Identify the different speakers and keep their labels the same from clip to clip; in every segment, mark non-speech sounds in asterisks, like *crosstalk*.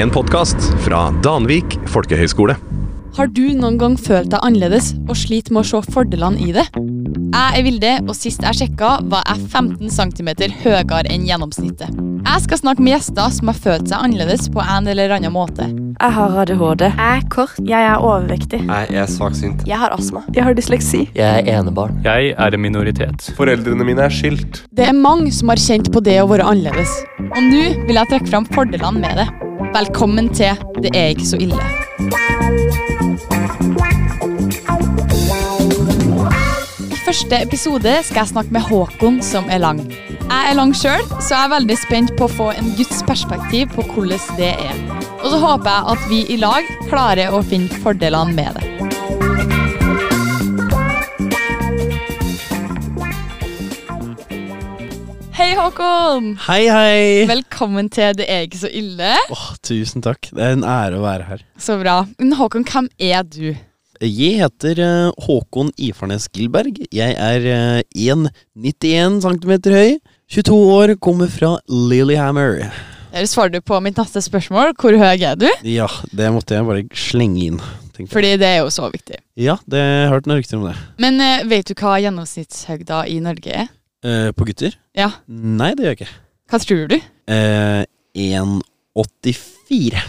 Speaker 1: En podkast fra Danvik folkehøgskole.
Speaker 2: Har du noen gang følt deg annerledes og slit med å se fordelene i det? Jeg er Vilde, og sist jeg sjekka, var jeg 15 cm høyere enn gjennomsnittet. Jeg skal snakke med gjester som har følt seg annerledes på en eller annen måte.
Speaker 3: Jeg har ADHD.
Speaker 4: Jeg er kort.
Speaker 5: Jeg er overvektig.
Speaker 6: Jeg er svaksynt.
Speaker 7: Jeg har astma.
Speaker 8: Jeg har dysleksi.
Speaker 9: Jeg er enebarn.
Speaker 10: Jeg er en minoritet.
Speaker 6: Foreldrene mine er skilt.
Speaker 2: Det er mange som har kjent på det å være annerledes. Og nå vil jeg trekke fram fordelene med det. Velkommen til Det er ikke så ille. I første episode skal jeg snakke med Håkon, som er lang. Jeg er lang sjøl, så jeg er veldig spent på å få en guds perspektiv på hvordan det er. Og så håper jeg at vi i lag klarer å finne fordelene med det. Hei, Håkon!
Speaker 11: Hei, hei!
Speaker 2: Velkommen til Det er ikke så ille.
Speaker 11: Åh, tusen takk. Det er en ære å være her.
Speaker 2: Så bra. Men Håkon, hvem er du?
Speaker 11: Jeg heter eh, Håkon Ifarnes Gilberg. Jeg er eh, 1,91 cm høy, 22 år, kommer fra Lillehammer.
Speaker 2: Der svarer du på mitt neste spørsmål. Hvor høy er du?
Speaker 11: Ja, det måtte jeg bare slenge inn. tenkte jeg.
Speaker 2: Fordi det er jo så viktig.
Speaker 11: Ja, det jeg har hørt noen rykter om det.
Speaker 2: Men eh, vet du hva gjennomsnittshøgda i Norge er?
Speaker 11: Eh, på gutter?
Speaker 2: Ja.
Speaker 11: Nei, det gjør jeg ikke.
Speaker 2: Hva tror du?
Speaker 11: Eh, 1,84.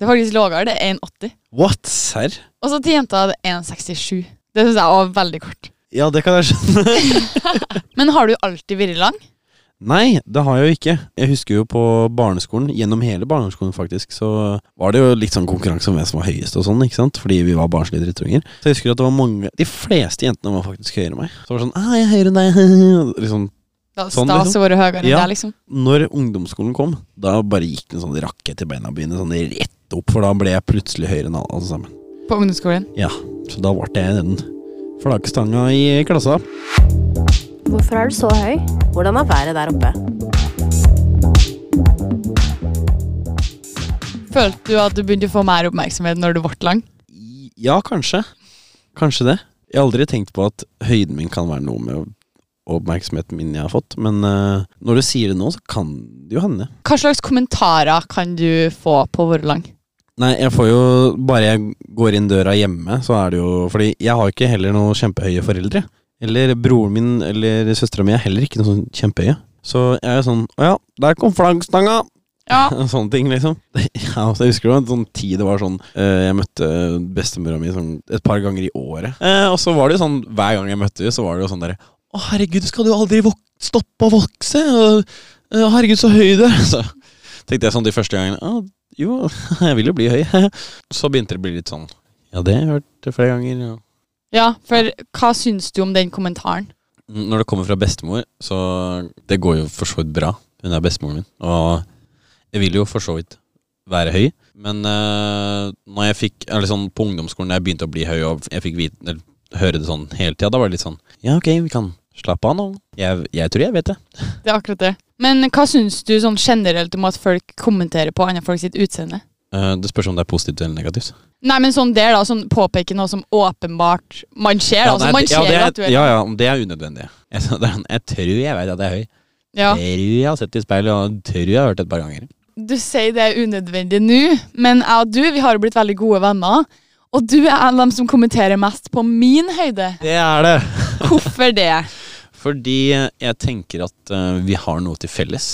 Speaker 2: Det er faktisk lavere. Det er 1,80.
Speaker 11: What, serr?
Speaker 2: Og så til jenta er det 1,67. Det syns jeg var veldig kort.
Speaker 11: Ja, det kan jeg skjønne.
Speaker 2: Men har du alltid vært lang?
Speaker 11: Nei, det har jeg jo ikke. Jeg husker jo på barneskolen, gjennom hele barneskolen faktisk, så var det jo litt sånn konkurranse om hvem som var høyest og sånn, ikke sant? Fordi vi var barnslige drittunger. Så jeg husker at det var mange De fleste jentene var faktisk høyere enn meg. Så det var sånn Å, jeg er høyere enn deg. *laughs* liksom
Speaker 2: Da
Speaker 11: Sånn,
Speaker 2: stas
Speaker 11: liksom.
Speaker 2: å være høyere enn
Speaker 11: Ja.
Speaker 2: deg, liksom.
Speaker 11: når ungdomsskolen kom, da bare gikk det en sånn rakett i beina mine, sånn rett opp, for da ble jeg plutselig høyere enn alle alle sammen.
Speaker 2: På ungdomsskolen.
Speaker 11: Så da ble jeg den flaggstanga i klassa.
Speaker 4: Hvorfor er du så høy?
Speaker 7: Hvordan er været der oppe?
Speaker 2: Følte du at du begynte å få mer oppmerksomhet når du ble lang?
Speaker 11: Ja, kanskje. Kanskje det. Jeg har aldri tenkt på at høyden min kan være noe med oppmerksomheten min jeg har fått, men eh, når du sier det nå, så kan det jo hende.
Speaker 2: Hva slags kommentarer kan du få på å være lang?
Speaker 11: Nei, jeg får jo Bare jeg går inn døra hjemme, så er det jo Fordi jeg har ikke heller noen kjempehøye foreldre. Eller broren min eller søstera mi er heller ikke noe sånn kjempehøye. Så jeg er jo sånn Å ja, der kom flaggstanga!
Speaker 2: Ja,
Speaker 11: *laughs* Sånne ting, liksom. Ja, altså, jeg husker det var en sånn tid det var sånn eh, Jeg møtte bestemora mi sånn, et par ganger i året. Eh, og så var det jo sånn hver gang jeg møtte henne, så var det jo sånn derre Å, herregud, skal du aldri vok stoppe å vokse? Og, eh, herregud, så høy du er. *laughs* Så tenkte jeg sånn de første gangene Å, jo, *laughs* jeg vil jo bli høy. *laughs* Så begynte det å bli litt sånn Ja, det har jeg hørt flere ganger. Ja.
Speaker 2: Ja, for hva syns du om den kommentaren?
Speaker 11: Når det kommer fra bestemor, så Det går jo for så vidt bra. Hun er bestemoren min. Og jeg vil jo for så vidt være høy. Men eh, når jeg fikk eller sånn, på ungdomsskolen da jeg begynte å bli høy, og jeg fikk vite, eller, høre det sånn hele tida, da var det litt sånn Ja, ok, vi kan slappe av nå. Jeg, jeg tror jeg vet det.
Speaker 2: Det er akkurat det. Men hva syns du sånn generelt om at folk kommenterer på andre folk sitt utseende?
Speaker 11: Eh, det spørs om det er positivt eller negativt.
Speaker 2: Nei, men sånn der, da. Sånn påpeke noe som åpenbart man ser. da,
Speaker 11: nei,
Speaker 2: altså, man
Speaker 11: ja,
Speaker 2: ser
Speaker 11: det
Speaker 2: at du
Speaker 11: er,
Speaker 2: er
Speaker 11: ja, ja, det er unødvendig. *laughs* Jeg, det er sånn, jeg tror jeg vet at jeg er høy.
Speaker 2: Ja.
Speaker 11: Tror jeg har sett i speilet, og tror jeg har hørt det et par ganger.
Speaker 2: Du sier det er unødvendig nå, men jeg og du vi har jo blitt veldig gode venner. Og du er en av dem som kommenterer mest på min høyde.
Speaker 11: Det er det.
Speaker 2: Hvorfor det?
Speaker 11: *laughs* Fordi jeg tenker at eh, vi har noe til felles.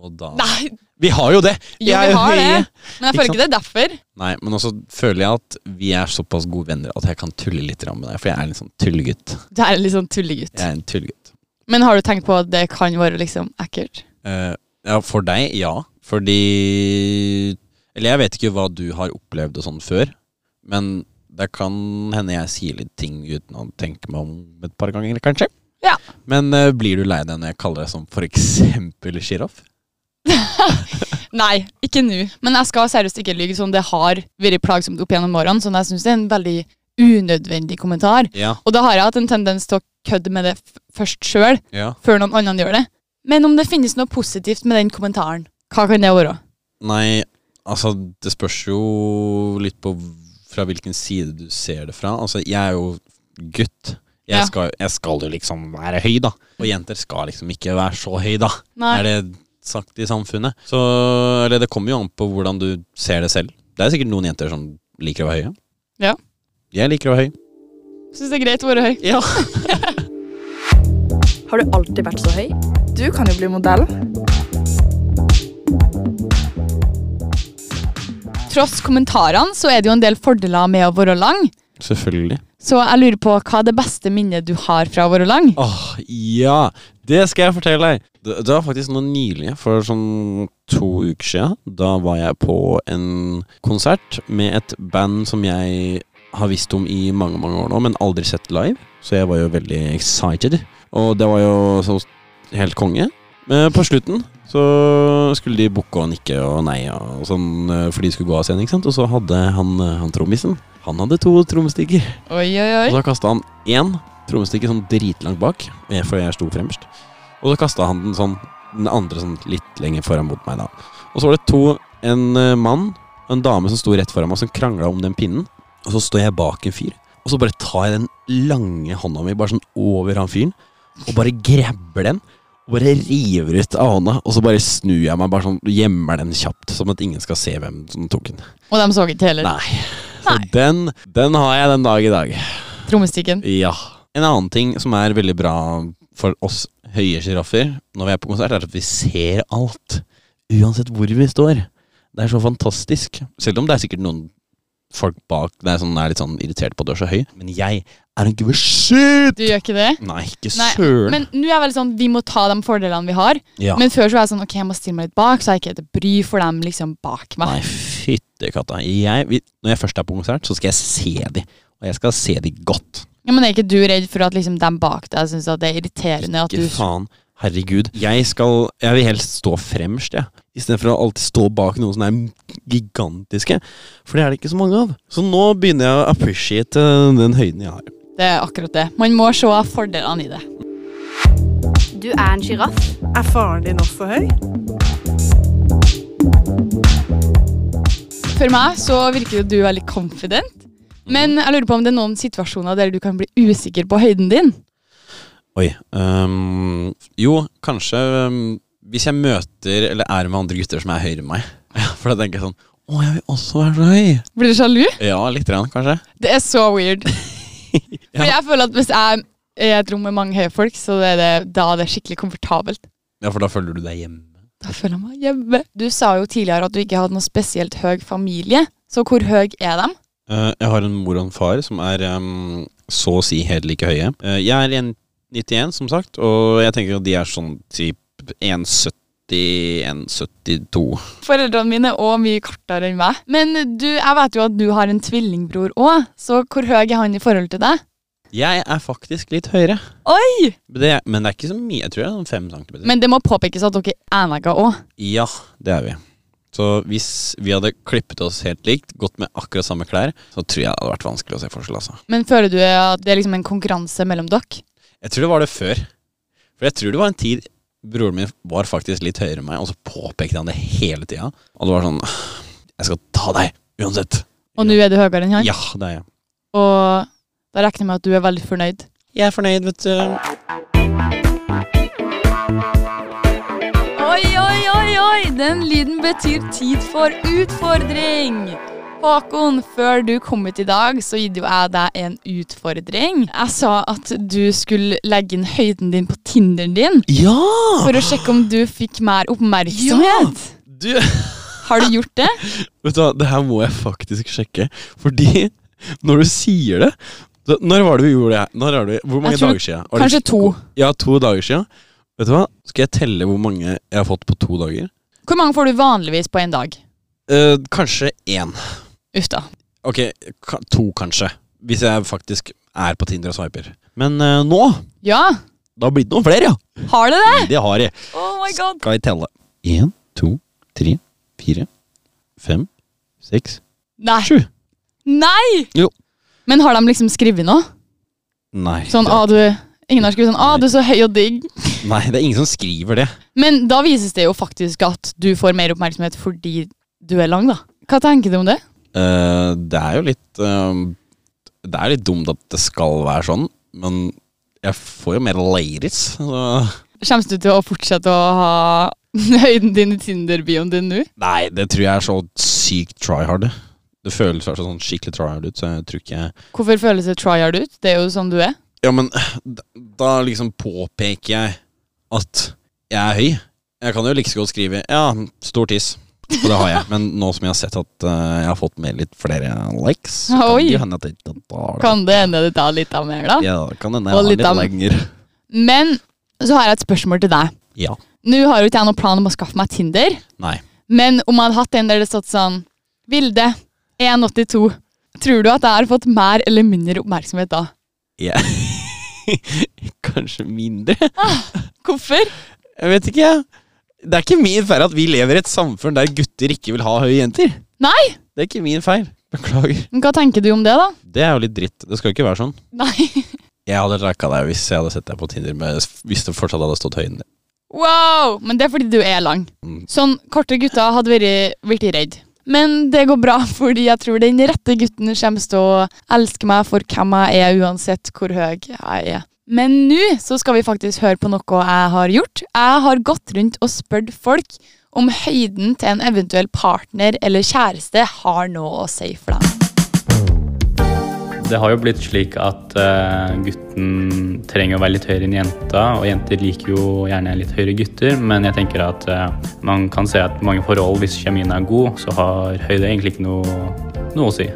Speaker 11: Og da
Speaker 2: Nei,
Speaker 11: Vi har jo det!
Speaker 2: jo, vi har det, men jeg
Speaker 11: Ikke
Speaker 2: føler ikke det er derfor.
Speaker 11: Nei, men også føler jeg at vi er såpass gode venner at jeg kan tulle litt med deg. For jeg er en sånn tullegutt.
Speaker 2: Du er en litt sånn tullegutt.
Speaker 11: Jeg er en tullegutt.
Speaker 2: Men har du tenkt på at det kan være liksom ekkelt?
Speaker 11: Eh, ja, for deg, ja. Fordi Eller jeg vet ikke hva du har opplevd og sånn før, men det kan hende jeg sier litt ting uten å tenke meg om et par ganger, kanskje.
Speaker 2: Ja.
Speaker 11: Men eh, blir du lei deg når jeg kaller deg sånn for eksempel sjiraff?
Speaker 2: Nei, ikke nå. Men jeg skal seriøst ikke lyve. Sånn, det har vært plagsomt opp gjennom årene, så jeg syns det er en veldig unødvendig kommentar.
Speaker 11: Ja.
Speaker 2: Og da har jeg hatt en tendens til å kødde med det f først sjøl,
Speaker 11: ja.
Speaker 2: før noen annen gjør det. Men om det finnes noe positivt med den kommentaren, hva kan det være?
Speaker 11: Nei, altså det spørs jo litt på fra hvilken side du ser det fra. Altså, jeg er jo gutt.
Speaker 2: Ja.
Speaker 11: Jeg, skal, jeg skal jo liksom være høy, da. Og jenter skal liksom ikke være så høy, da.
Speaker 2: Nei.
Speaker 11: Er det sagt i samfunnet. Så eller det kommer jo an på hvordan du ser det selv. Det er sikkert noen jenter som liker å være høye.
Speaker 2: Ja.
Speaker 11: Jeg liker å være høy.
Speaker 2: Syns det er greit å være høy.
Speaker 11: Ja.
Speaker 4: Har du alltid vært så høy?
Speaker 3: Du kan jo bli modell.
Speaker 2: Tross kommentarene så er det jo en del fordeler med å være lang.
Speaker 11: Selvfølgelig.
Speaker 2: Så jeg lurer på hva er det beste minnet du har fra å være lang?
Speaker 11: Åh, ja! Det skal jeg fortelle deg. Det, det var faktisk noe nylig, for sånn to uker siden. Da var jeg på en konsert med et band som jeg har visst om i mange mange år nå, men aldri sett live. Så jeg var jo veldig excited. Og det var jo så helt konge. Men på slutten så skulle de bukke og nikke og nei og sånn, eh, for de skulle gå av scenen, ikke sant. Og så hadde han, eh, han trommisen Han hadde to trommestikker.
Speaker 2: Oi, oi, oi.
Speaker 11: Og da kasta han én trommestikke sånn dritlangt bak, og jeg- for jeg sto fremst. Og så kasta han den sånn den andre sånn litt lenger foran mot meg, da. Og så var det to En eh, mann og en dame som sto rett foran meg, som krangla om den pinnen. Og så står jeg bak en fyr, og så bare tar jeg den lange hånda mi bare sånn over han fyren, og bare grabber den. Og bare river ut av hånda, og så bare snur jeg meg bare sånn, gjemmer den kjapt. Som at ingen skal se hvem som tok den.
Speaker 2: Og de så ikke heller.
Speaker 11: Altså- Nei. Så den, den har jeg den dag i dag.
Speaker 2: Trommestikken.
Speaker 11: Ja. En annen ting som er veldig bra for oss høye sjiraffer når vi er på konsert, er at vi ser alt. Uansett hvor vi står. Det er så fantastisk. Selv om det er sikkert noen folk bak deg som er litt sånn irritert på at du er så høy. Men jeg er en give a shit!
Speaker 2: Du gjør ikke det?
Speaker 11: Nei, ikke
Speaker 2: Nei,
Speaker 11: søren.
Speaker 2: Men nå er jeg veldig sånn, vi må ta de fordelene vi har.
Speaker 11: ja.
Speaker 2: Men før så var jeg sånn, ok, jeg må stille meg litt bak, så jeg ikke er til bry for dem liksom bak meg.
Speaker 11: Nei, fytti katta. Jeg, vi, når jeg først er på konsert, så skal jeg se de. Og jeg skal se de godt.
Speaker 2: Ja, men er ikke du redd for at liksom dem bak deg synes at det er irriterende at
Speaker 11: Ikke
Speaker 2: du...
Speaker 11: faen. Herregud. Jeg, skal, jeg vil helst stå fremst, jeg. Istedenfor å alltid stå bak noen som er gigantiske. For det er det ikke så mange av. Så nå begynner jeg å appreciate eh, den høyden jeg har.
Speaker 2: Det er akkurat det. Man må se fordelene i det.
Speaker 4: Du er en sjiraff.
Speaker 3: Er faren din også høy?
Speaker 2: For meg så virker jo du veldig confident. Men jeg lurer på om det er noen situasjoner der du kan bli usikker på høyden din.
Speaker 11: Oi. øhm, jo, kanskje øhm, hvis jeg møter eller er med andre gutter som er høyere enn meg. *laughs* Ja, For da tenker jeg sånn Å, jeg vil også være så høy.
Speaker 2: Blir du sjalu?
Speaker 11: Ja, litt, grann, kanskje.
Speaker 2: Det er så
Speaker 11: *laughs*
Speaker 2: weird. For jeg føler at hvis jeg er i et rom med mange høye folk, så er det, da er det skikkelig komfortabelt.
Speaker 11: Ja, for da føler du deg hjemme.
Speaker 2: Da føler jeg meg hjemme. Du sa jo tidligere at du ikke hadde noe spesielt høy familie. Så hvor høy er de?
Speaker 11: Eh, jeg har en mor og en far som er ehm, så å si helt like høye. Eh, jeg er 1,91 som sagt, og jeg tenker at de er sånn typ 1,70-1,72.
Speaker 2: Foreldrene mine er òg mye kortere enn meg. Men du, jeg vet jo at du har en tvillingbror òg, så hvor høy er han i forhold til deg?
Speaker 11: Jeg er faktisk litt høyere.
Speaker 2: Oi!
Speaker 11: Det, men det er ikke så mye. Jeg tror jeg er sånn fem centimeter.
Speaker 2: Men det må påpekes at dere er enegga òg.
Speaker 11: ja, det er vi. Så hvis vi hadde klippet oss helt likt, gått med akkurat samme klær, så tror jeg det hadde vært vanskelig å se forskjell. altså.
Speaker 2: Men føler du at det er liksom en konkurranse mellom dere?
Speaker 11: Jeg tror det var det før. For jeg tror det var en tid broren min var faktisk litt høyere enn meg, og så påpekte han det hele tida. Og det var sånn Jeg skal ta deg uansett.
Speaker 2: Og nå er du høyere enn han?
Speaker 11: Ja, det er jeg.
Speaker 2: Og da regner jeg med at du er veldig fornøyd.
Speaker 11: Jeg er fornøyd, vet du.
Speaker 2: Oi, oi, oi, oi! Den lyden betyr tid for utfordring! Håkon, før du kom ut i dag, så gitt jo jeg deg en utfordring. Jeg sa at du skulle legge inn høyden din på Tinderen din
Speaker 11: Ja!
Speaker 2: for å sjekke om du fikk mer oppmerksomhet.
Speaker 11: Du, vet
Speaker 2: Har du gjort det?
Speaker 11: du hva, det her må jeg faktisk sjekke. Fordi når du sier det så Når var det vi gjorde det her? Når er det, hvor mange
Speaker 2: Jeg tror-
Speaker 11: dager siden? Var det-
Speaker 2: Kanskje to.
Speaker 11: Ja, to dager siden. Vet du hva? Skal jeg telle hvor mange jeg har fått på to dager?
Speaker 2: Hvor mange får du vanligvis på én dag?
Speaker 11: Eh, kanskje én.
Speaker 2: Uff da.
Speaker 11: Ok, ka- to kanskje. Hvis jeg faktisk er på Tinder og swiper. Men eh, nå
Speaker 2: Ja,
Speaker 11: Det har blitt noen flere, ja!
Speaker 2: har det det?
Speaker 11: Det har jeg.
Speaker 2: Oh my god.
Speaker 11: Skal jeg telle? Én, to, tre, fire, fem, seks
Speaker 2: Nei.
Speaker 11: Sju.
Speaker 2: Nei!
Speaker 11: Jo.
Speaker 2: Men har de liksom skrevet noe?
Speaker 11: Nei.
Speaker 2: Sånn,
Speaker 11: det,
Speaker 2: ah, du, ingen har skrevet sånn 'Å, du er så høy og digg'.
Speaker 11: *laughs* nei, det er ingen som skriver det.
Speaker 2: Men da vises det jo faktisk at du får mer oppmerksomhet fordi du er lang, da. Hva tenker du om det?
Speaker 11: Eh, det er jo litt eh, Det er litt dumt at det skal være sånn, men jeg får jo mer ladies. Så.
Speaker 2: Kommer du til å fortsette å ha *laughs* høyden din i Tinder-bioen din nå?
Speaker 11: Nei, det tror jeg er så sykt try hard. det. Det føles altså sånn skikkelig try hard ut, så jeg tror ikke jeg
Speaker 2: Hvorfor føles det tryhard ut? Det er jo sånn du er.
Speaker 11: Ja, men *sighs* da- da liksom påpeker jeg at jeg er høy. Jeg kan jo like så godt skrive 'ja, stor tiss', og det har jeg. Men nå som jeg har sett at eh, jeg har fått med litt flere likes, så kan
Speaker 2: Oi.
Speaker 11: det jo hende at jeg ikke tar det.
Speaker 2: Kan det hende det tar litt av mer, da?
Speaker 11: Ja, det kan hende
Speaker 2: Og
Speaker 11: jeg har
Speaker 2: litt
Speaker 11: litt
Speaker 2: av-
Speaker 11: lenger.
Speaker 2: Men så har jeg et spørsmål til deg.
Speaker 11: Ja.
Speaker 2: Nå har jo ikke jeg noen plan om å skaffe meg Tinder,
Speaker 11: Nei.
Speaker 2: men om jeg hadde hatt en der det stått sånn Vilde, 182. Tror du at jeg har fått mer eller mindre oppmerksomhet da?
Speaker 11: Ja. *laughs* Kanskje mindre.
Speaker 2: Hvorfor?
Speaker 11: Jeg vet ikke. Det er ikke min feil at vi lever i et samfunn der gutter ikke vil ha høye jenter.
Speaker 2: Nei!
Speaker 11: Det er ikke min feil. Beklager.
Speaker 2: Men Hva tenker du om det, da?
Speaker 11: Det er jo litt dritt. Det skal jo ikke være sånn.
Speaker 2: Nei.
Speaker 11: Jeg hadde racka deg hvis jeg hadde sett deg på Tinder men hvis det fortsatt hadde stått høyden din.
Speaker 2: Wow! Men det er fordi du er lang.
Speaker 11: Mm.
Speaker 2: Sånn korte gutter hadde vært, vært redd. Men det går bra, *laughs* fordi jeg tror den rette gutten kommer til å elske meg for hvem jeg er, uansett hvor høy jeg er. Men nå så skal vi faktisk høre på noe jeg har gjort. Jeg har gått rundt og spurt folk om høyden til en eventuell partner eller kjæreste har noe å si for dem.
Speaker 5: Det har jo blitt slik at eh, gutten trenger å være litt høyere enn jenta, og jenter liker jo gjerne litt høyere gutter, men jeg tenker at eh, man kan se at mange forhold, hvis kjemien er god, så har høyde egentlig ikke noe, noe å si.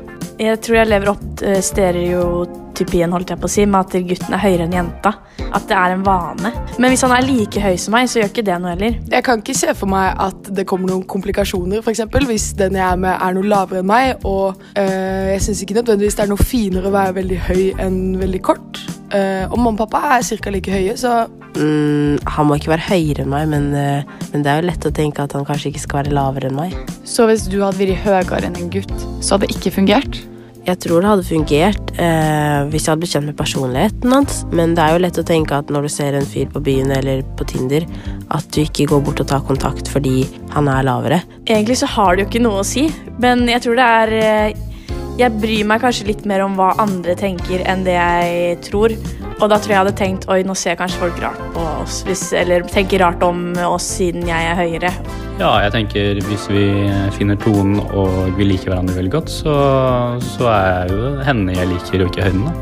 Speaker 7: Jeg tror jeg lever opp eh, stereotypien, holdt jeg på å si, med at gutten er høyere enn jenta. At det er en vane. Men hvis han er like høy som meg, så gjør ikke det noe heller.
Speaker 8: Jeg kan ikke se for meg at det kommer noen komplikasjoner, f.eks. hvis den jeg er med, er noe lavere enn meg. Og øh, jeg syns ikke nødvendigvis det er noe finere å være veldig høy enn veldig kort. Eh, og mamma og pappa er ca. like høye, så
Speaker 9: Mm, han må ikke være høyere enn meg, men, eh, men det er jo lett å tenke at han kanskje ikke skal være lavere enn meg.
Speaker 2: Så hvis du hadde vært høyere enn en gutt, så hadde det ikke fungert?
Speaker 9: Jeg tror det hadde fungert eh, hvis jeg hadde blitt kjent med personligheten hans, men det er jo lett å tenke at når du ser en fyr på byen eller på Tinder, at du ikke går bort og tar kontakt fordi han er lavere.
Speaker 7: Egentlig så har det jo ikke noe å si, men jeg tror det er eh, Jeg bryr meg kanskje litt mer om hva andre tenker enn det jeg tror. Og da tror jeg jeg hadde tenkt oi, nå ser kanskje folk rart på oss, hvis, eller tenker rart om oss siden jeg er høyere.
Speaker 5: Ja, jeg tenker hvis vi finner tonen og vi liker hverandre veldig godt, så, så er jo henne jeg liker, og ikke høyden, da.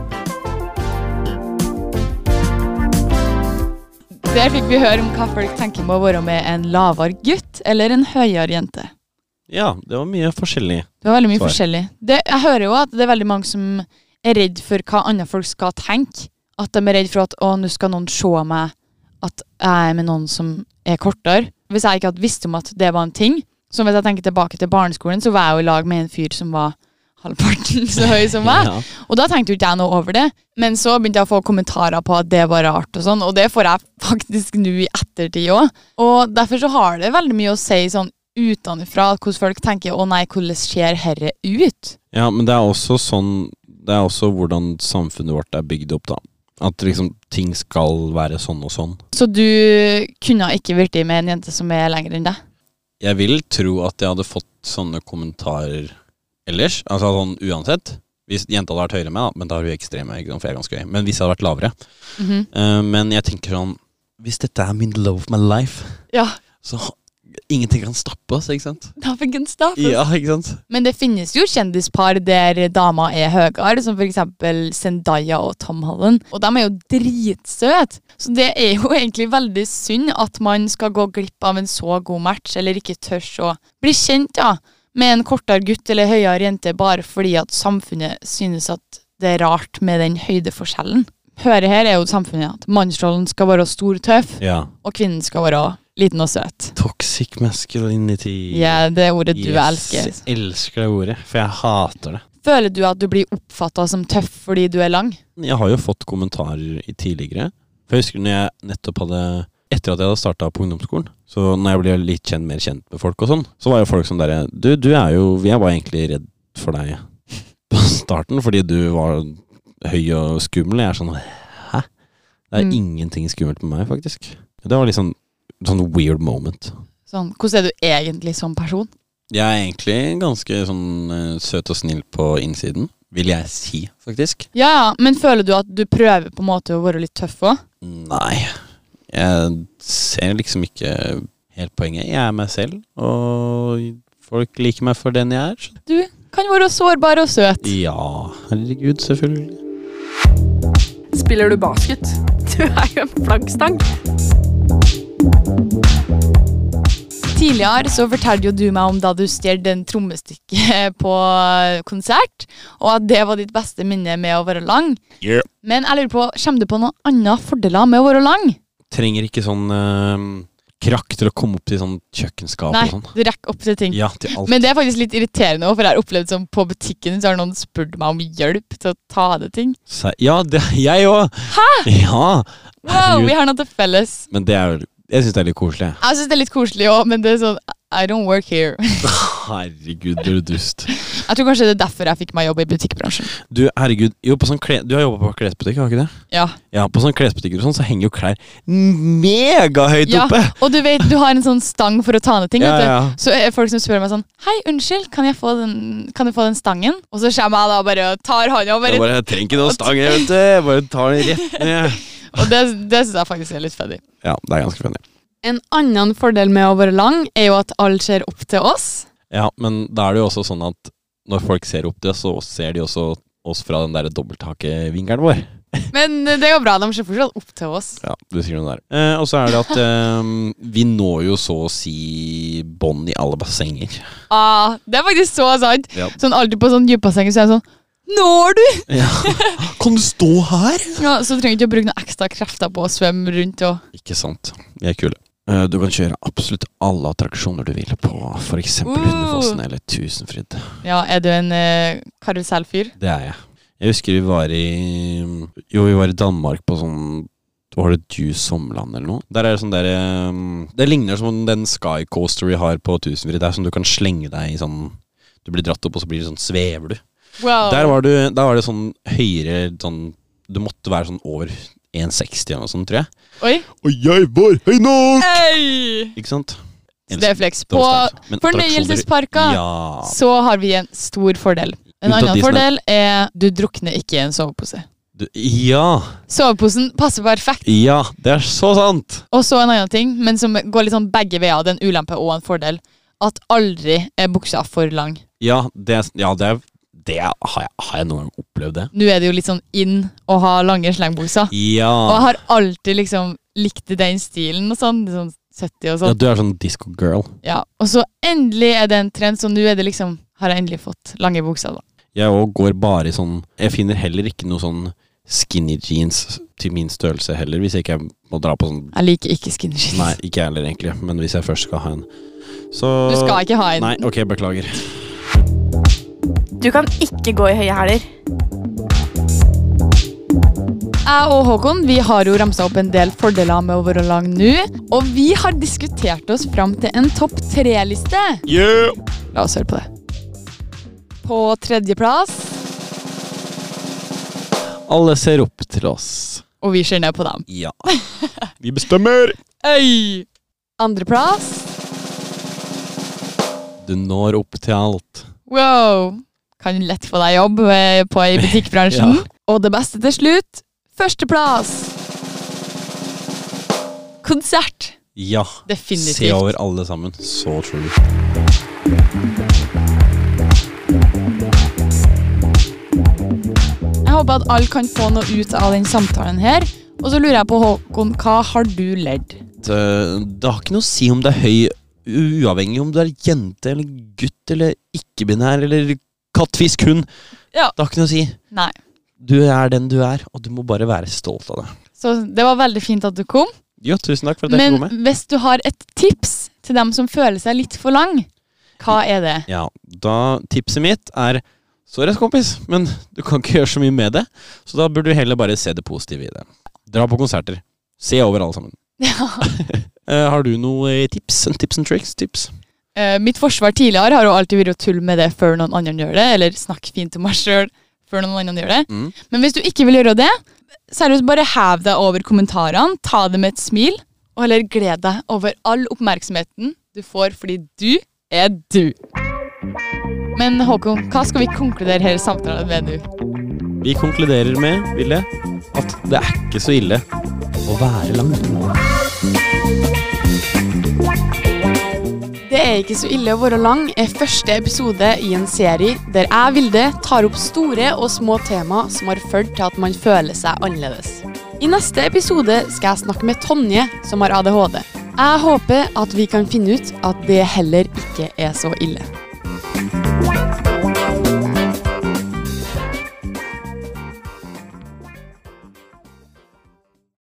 Speaker 2: Der fikk vi høre om hva folk tenker med å være med en lavere gutt eller en høyere jente.
Speaker 11: Ja, det var mye forskjellig.
Speaker 2: Det var veldig mye
Speaker 11: Svar.
Speaker 2: forskjellig. Det, jeg hører jo at det er veldig mange som er redd for hva andre folk skal tenke. At de er redd for at å, nå skal noen se meg at jeg er med noen som er kortere. Hvis jeg ikke hadde visst om at det var en ting, så hvis jeg tenker tilbake til barneskolen, så var jeg jo i lag med en fyr som var halvparten *laughs* så høy som meg.
Speaker 11: Ja.
Speaker 2: Og da tenkte jo ikke jeg noe over det, men så begynte jeg å få kommentarer på at det var rart, og sånn, og det får jeg *laughs* faktisk nå i ettertid òg. Og derfor så har det veldig mye å si sånn utenfra hvordan folk tenker 'Å nei, hvordan ser herre ut?'
Speaker 11: ja, men det er også sånn Det er også hvordan samfunnet vårt er bygd opp, da. At liksom ting skal være sånn og sånn.
Speaker 2: Så du kunne ikke blitt med en jente som er lengre enn deg?
Speaker 11: Jeg vil tro at jeg hadde fått sånne kommentarer ellers. Altså sånn uansett. Hvis jenta hadde vært høyere enn meg, da, men da er hun ekstreme. Ikke sant, for jeg er ganske høy. Men hvis jeg hadde vært lavere
Speaker 2: Mhm.
Speaker 11: Eh, Men jeg tenker sånn Hvis dette er min love of my life,
Speaker 2: Ja,
Speaker 11: så ingenting kan stoppe oss, ikke sant?
Speaker 2: da fikk en staff.
Speaker 11: Ja, ikke sant?
Speaker 2: Men det finnes jo kjendispar der dama er høyere, som for eksempel Zendaya og Tom Holland. Og de er jo dritsøte! Så det er jo *laughs* egentlig veldig synd at man skal gå glipp av en så god match, eller ikke tør å bli kjent da, med en kortere gutt eller høyere jente bare fordi at samfunnet synes at det er rart med den høydeforskjellen. Høret her er jo samfunnet at mannsrollen skal være stor og tøff,
Speaker 11: Ja.
Speaker 2: og kvinnen skal være liten og søt.
Speaker 11: Toxic masculinity.
Speaker 2: Ja, det er ordet du
Speaker 11: Yes,
Speaker 2: elsker.
Speaker 11: Jeg elsker det ordet, for jeg hater det.
Speaker 2: Føler du at du blir oppfatta som tøff fordi du er lang?
Speaker 11: Jeg har jo fått kommentarer i tidligere. For jeg husker når jeg nettopp hadde Etter at jeg hadde starta på ungdomsskolen, så når jeg ble litt kjent, mer kjent med folk og sånn, så var jo folk som derre Du, du er jo Jeg var egentlig redd for deg på starten, fordi du var høy og skummel. Jeg er sånn Hæ? Det er
Speaker 2: Mm.
Speaker 11: ingenting skummelt med meg, faktisk. Det var liksom sånn weird moment.
Speaker 2: Sånn, hvordan er du egentlig som person?
Speaker 11: Jeg er egentlig ganske sånn eh, søt og snill på innsiden, vil jeg si, faktisk.
Speaker 2: Ja, ja, men føler du at du prøver på en måte å være litt tøff òg?
Speaker 11: Nei. Jeg ser liksom ikke helt poenget. Jeg er meg selv, og folk liker meg for den jeg er. Så
Speaker 2: Du kan være sårbar og søt.
Speaker 11: ja, herregud, selvfølgelig.
Speaker 3: Spiller du
Speaker 8: *laughs*
Speaker 3: basket?
Speaker 4: Du er jo en flaggstang.
Speaker 2: Tidligere så fortalte jo du meg om da du stjal en trommestikke på konsert, og at det var ditt beste minne med å være lang.
Speaker 11: Yeah.
Speaker 2: Men jeg lurer på, kommer du på noen andre fordeler med å være lang?
Speaker 11: Trenger ikke sånn eh, krakk til å komme opp til sånn kjøkkenskap
Speaker 2: Nei,
Speaker 11: og sånn.
Speaker 2: du rekker opp til ting.
Speaker 11: Ja, til alt.
Speaker 2: Men det er faktisk litt irriterende, også, for jeg har opplevd som på butikken så har noen spurt meg om hjelp til å ta av det ting.
Speaker 11: Se- Ja, det jeg òg!
Speaker 2: Wow,
Speaker 11: Ja, Herregud.
Speaker 2: vi har noe til felles.
Speaker 11: men det er jo Jeg syns det er litt koselig.
Speaker 2: Jeg synes det er litt koselig også, men det er sånn, I don't work here.
Speaker 11: Herregud, du er dust.
Speaker 2: Jeg tror kanskje det er derfor jeg fikk meg jobb i butikkbransjen.
Speaker 11: Du, herregud, jo, på sånn kle, du har jobba på klesbutikk, har du ikke det?
Speaker 2: Ja.
Speaker 11: Ja, på sånn klesbutikker og sånn, så henger jo klær megahøyt
Speaker 2: Ja,
Speaker 11: oppe!
Speaker 2: og du vet, du har en sånn stang for å ta ned ting,
Speaker 11: Ja,
Speaker 2: vet du.
Speaker 11: ja.
Speaker 2: Så er det folk som spør meg sånn Hei, unnskyld, kan, jeg få den, kan du få den stangen? Og så kommer jeg da bare og tar hånda og
Speaker 11: Jeg
Speaker 2: bare
Speaker 11: bare jeg trenger ikke noe stang, jeg, vet du. Jeg bare tar den rett ned.
Speaker 2: Og det, det syns jeg faktisk er litt funny.
Speaker 11: Ja, det er ganske funny.
Speaker 2: En annen fordel med å være lang, er jo at alle ser opp til oss.
Speaker 11: Ja, men da er det jo også sånn at når folk ser opp til oss, så ser de også oss fra den der dobbelthakevingelen vår.
Speaker 2: Men eh, det går bra, de ser fortsatt opp til oss.
Speaker 11: Ja, du sier noe der. Eh, og så er det at eh, vi når jo så å si bånd i alle bassenger.
Speaker 2: Ah, det er faktisk så sant.
Speaker 11: Ja.
Speaker 2: Sånn Alltid på sånn dypbasseng så er jeg sånn Når du!
Speaker 11: Kan du stå her?!
Speaker 2: *laughs* Ja, så trenger du ikke å bruke noen ekstra krefter på å svømme rundt og
Speaker 11: Ikke sant. Vi er kule. Eh, Du kan kjøre absolutt alle attraksjoner du vil på f.eks.
Speaker 2: Uh.
Speaker 11: Hundefossen eller Tusenfryd.
Speaker 2: Ja, er du en eh, karusellfyr?
Speaker 11: Det er jeg. Jeg husker vi var i Jo, vi var i Danmark på sånn var det Juice Sommerland eller noe? Der er Det sånn der, um, det ligner som den Sky Coaster vi har på Tusenfryd. Det er som du kan slenge deg i sånn Du blir dratt opp, og så blir det sånn svever du.
Speaker 2: Wow.
Speaker 11: Der var, du, der var det sånn høyere sånn Du måtte være sånn over 1,60 eller noe sånt, tror jeg.
Speaker 2: Oi.
Speaker 11: Og jeg var høy nok!
Speaker 2: Hey!
Speaker 11: Ikke sant?
Speaker 2: Så det er flex.
Speaker 11: Det
Speaker 2: På
Speaker 11: var sterkt. Men
Speaker 2: fornøyelsesparker
Speaker 11: attraksjoner- Ja.
Speaker 2: så har vi en stor fordel. En
Speaker 11: Unntatt
Speaker 2: annen
Speaker 11: Disney.
Speaker 2: fordel er du drukner ikke i en sovepose.
Speaker 11: Du, ja.
Speaker 2: Soveposen passer perfekt.
Speaker 11: Ja, det er så sant!
Speaker 2: Og så en annen ting, men som går litt sånn begge veier. Det er en ulempe og en fordel. At aldri er buksa for lang.
Speaker 11: Ja, det, er- ja, det, er- det er- har, jeg, har jeg noen gang opplevd det?
Speaker 2: Nå er det jo litt sånn in å ha lange slengbukser. Og jeg
Speaker 11: Ja.
Speaker 2: har alltid liksom likt den stilen og sånn. Sånn 70 og
Speaker 11: ja
Speaker 2: sånn.
Speaker 11: du er sånn disco girl.
Speaker 2: Ja. Og så endelig er det en trend, så nå er det liksom Har jeg endelig fått lange bukser, da.
Speaker 11: Jeg òg går bare i sånn Jeg finner heller ikke noe sånn skinny jeans til min størrelse heller, hvis jeg ikke må dra på sånn
Speaker 2: Jeg liker ikke skinny jeans.
Speaker 11: Nei, ikke jeg heller, egentlig, men hvis jeg først skal ha en, så
Speaker 2: Du skal ikke ha en.
Speaker 11: Nei, ok, beklager.
Speaker 7: Du kan ikke gå i høye hæler.
Speaker 2: Jeg og Håkon vi har jo ramsa opp en del fordeler med å være lang nå. Og vi har diskutert oss fram til en topp tre-liste.
Speaker 11: Yeah!
Speaker 2: La oss høre på det. På tredjeplass
Speaker 11: Alle ser opp til oss.
Speaker 2: Og vi ser ned på dem. *laughs*
Speaker 11: Ja. Vi bestemmer!
Speaker 2: Øy! Andreplass
Speaker 11: Du når opp til alt.
Speaker 2: Wow! Kan lett få deg jobb eh, på i butikkbransjen.
Speaker 11: Ja.
Speaker 2: Og det beste til slutt førsteplass. Konsert.
Speaker 11: Ja.
Speaker 2: Definitivt.
Speaker 11: Se over alle sammen. Så true.
Speaker 2: Jeg håper at alle kan få noe ut av den samtalen her. Og så lurer jeg på, Håkon, hva har du ledd?
Speaker 11: Eh, Det har ikke noe å si om du er høy, uavhengig om du er jente eller gutt eller ikke-binær eller kattfisk hund.
Speaker 2: Ja.
Speaker 11: Det har ikke noe å si.
Speaker 2: Nei.
Speaker 11: Du er den du er, og du må bare være stolt av det.
Speaker 2: Så det var veldig fint at du kom.
Speaker 11: Jo, tusen takk for at jeg
Speaker 2: Men
Speaker 11: fikk komme.
Speaker 2: hvis du har et tips til dem som føler seg litt for lang, hva er *laughs* det?
Speaker 11: Ja, da tipset mitt er Sorry, ass, kompis, men du kan ikke gjøre så mye med det. Så da burde du heller bare se det positive i det. Dra på konserter. Se over alle sammen. Eh, har du noe eh, tips? Tips and tricks? Tips?
Speaker 2: Eh, mitt forsvar tidligere har jo alltid vært å tulle med det før noen andre gjør det, eller snakke fint om meg sjøl før noen andre gjør det.
Speaker 11: Mm.
Speaker 2: Men hvis du ikke vil gjøre det, seriøst, bare hev deg over kommentarene, ta det med et smil, og heller gled deg over all oppmerksomheten du får fordi du er du. Men Håkon, hva skal vi konkludere hele samtalen med nå?
Speaker 11: Vi konkluderer med, Ville, at det er ikke så ille å være lang.
Speaker 10: What?
Speaker 2: Det er ikke så ille å være lang er første episode i en serie der jeg, Vilde, tar opp store og små tema som har ført til at man føler seg annerledes. I neste episode skal jeg snakke med Tonje, som har ADHD. Jeg håper at vi kan finne ut at det heller ikke er så ille.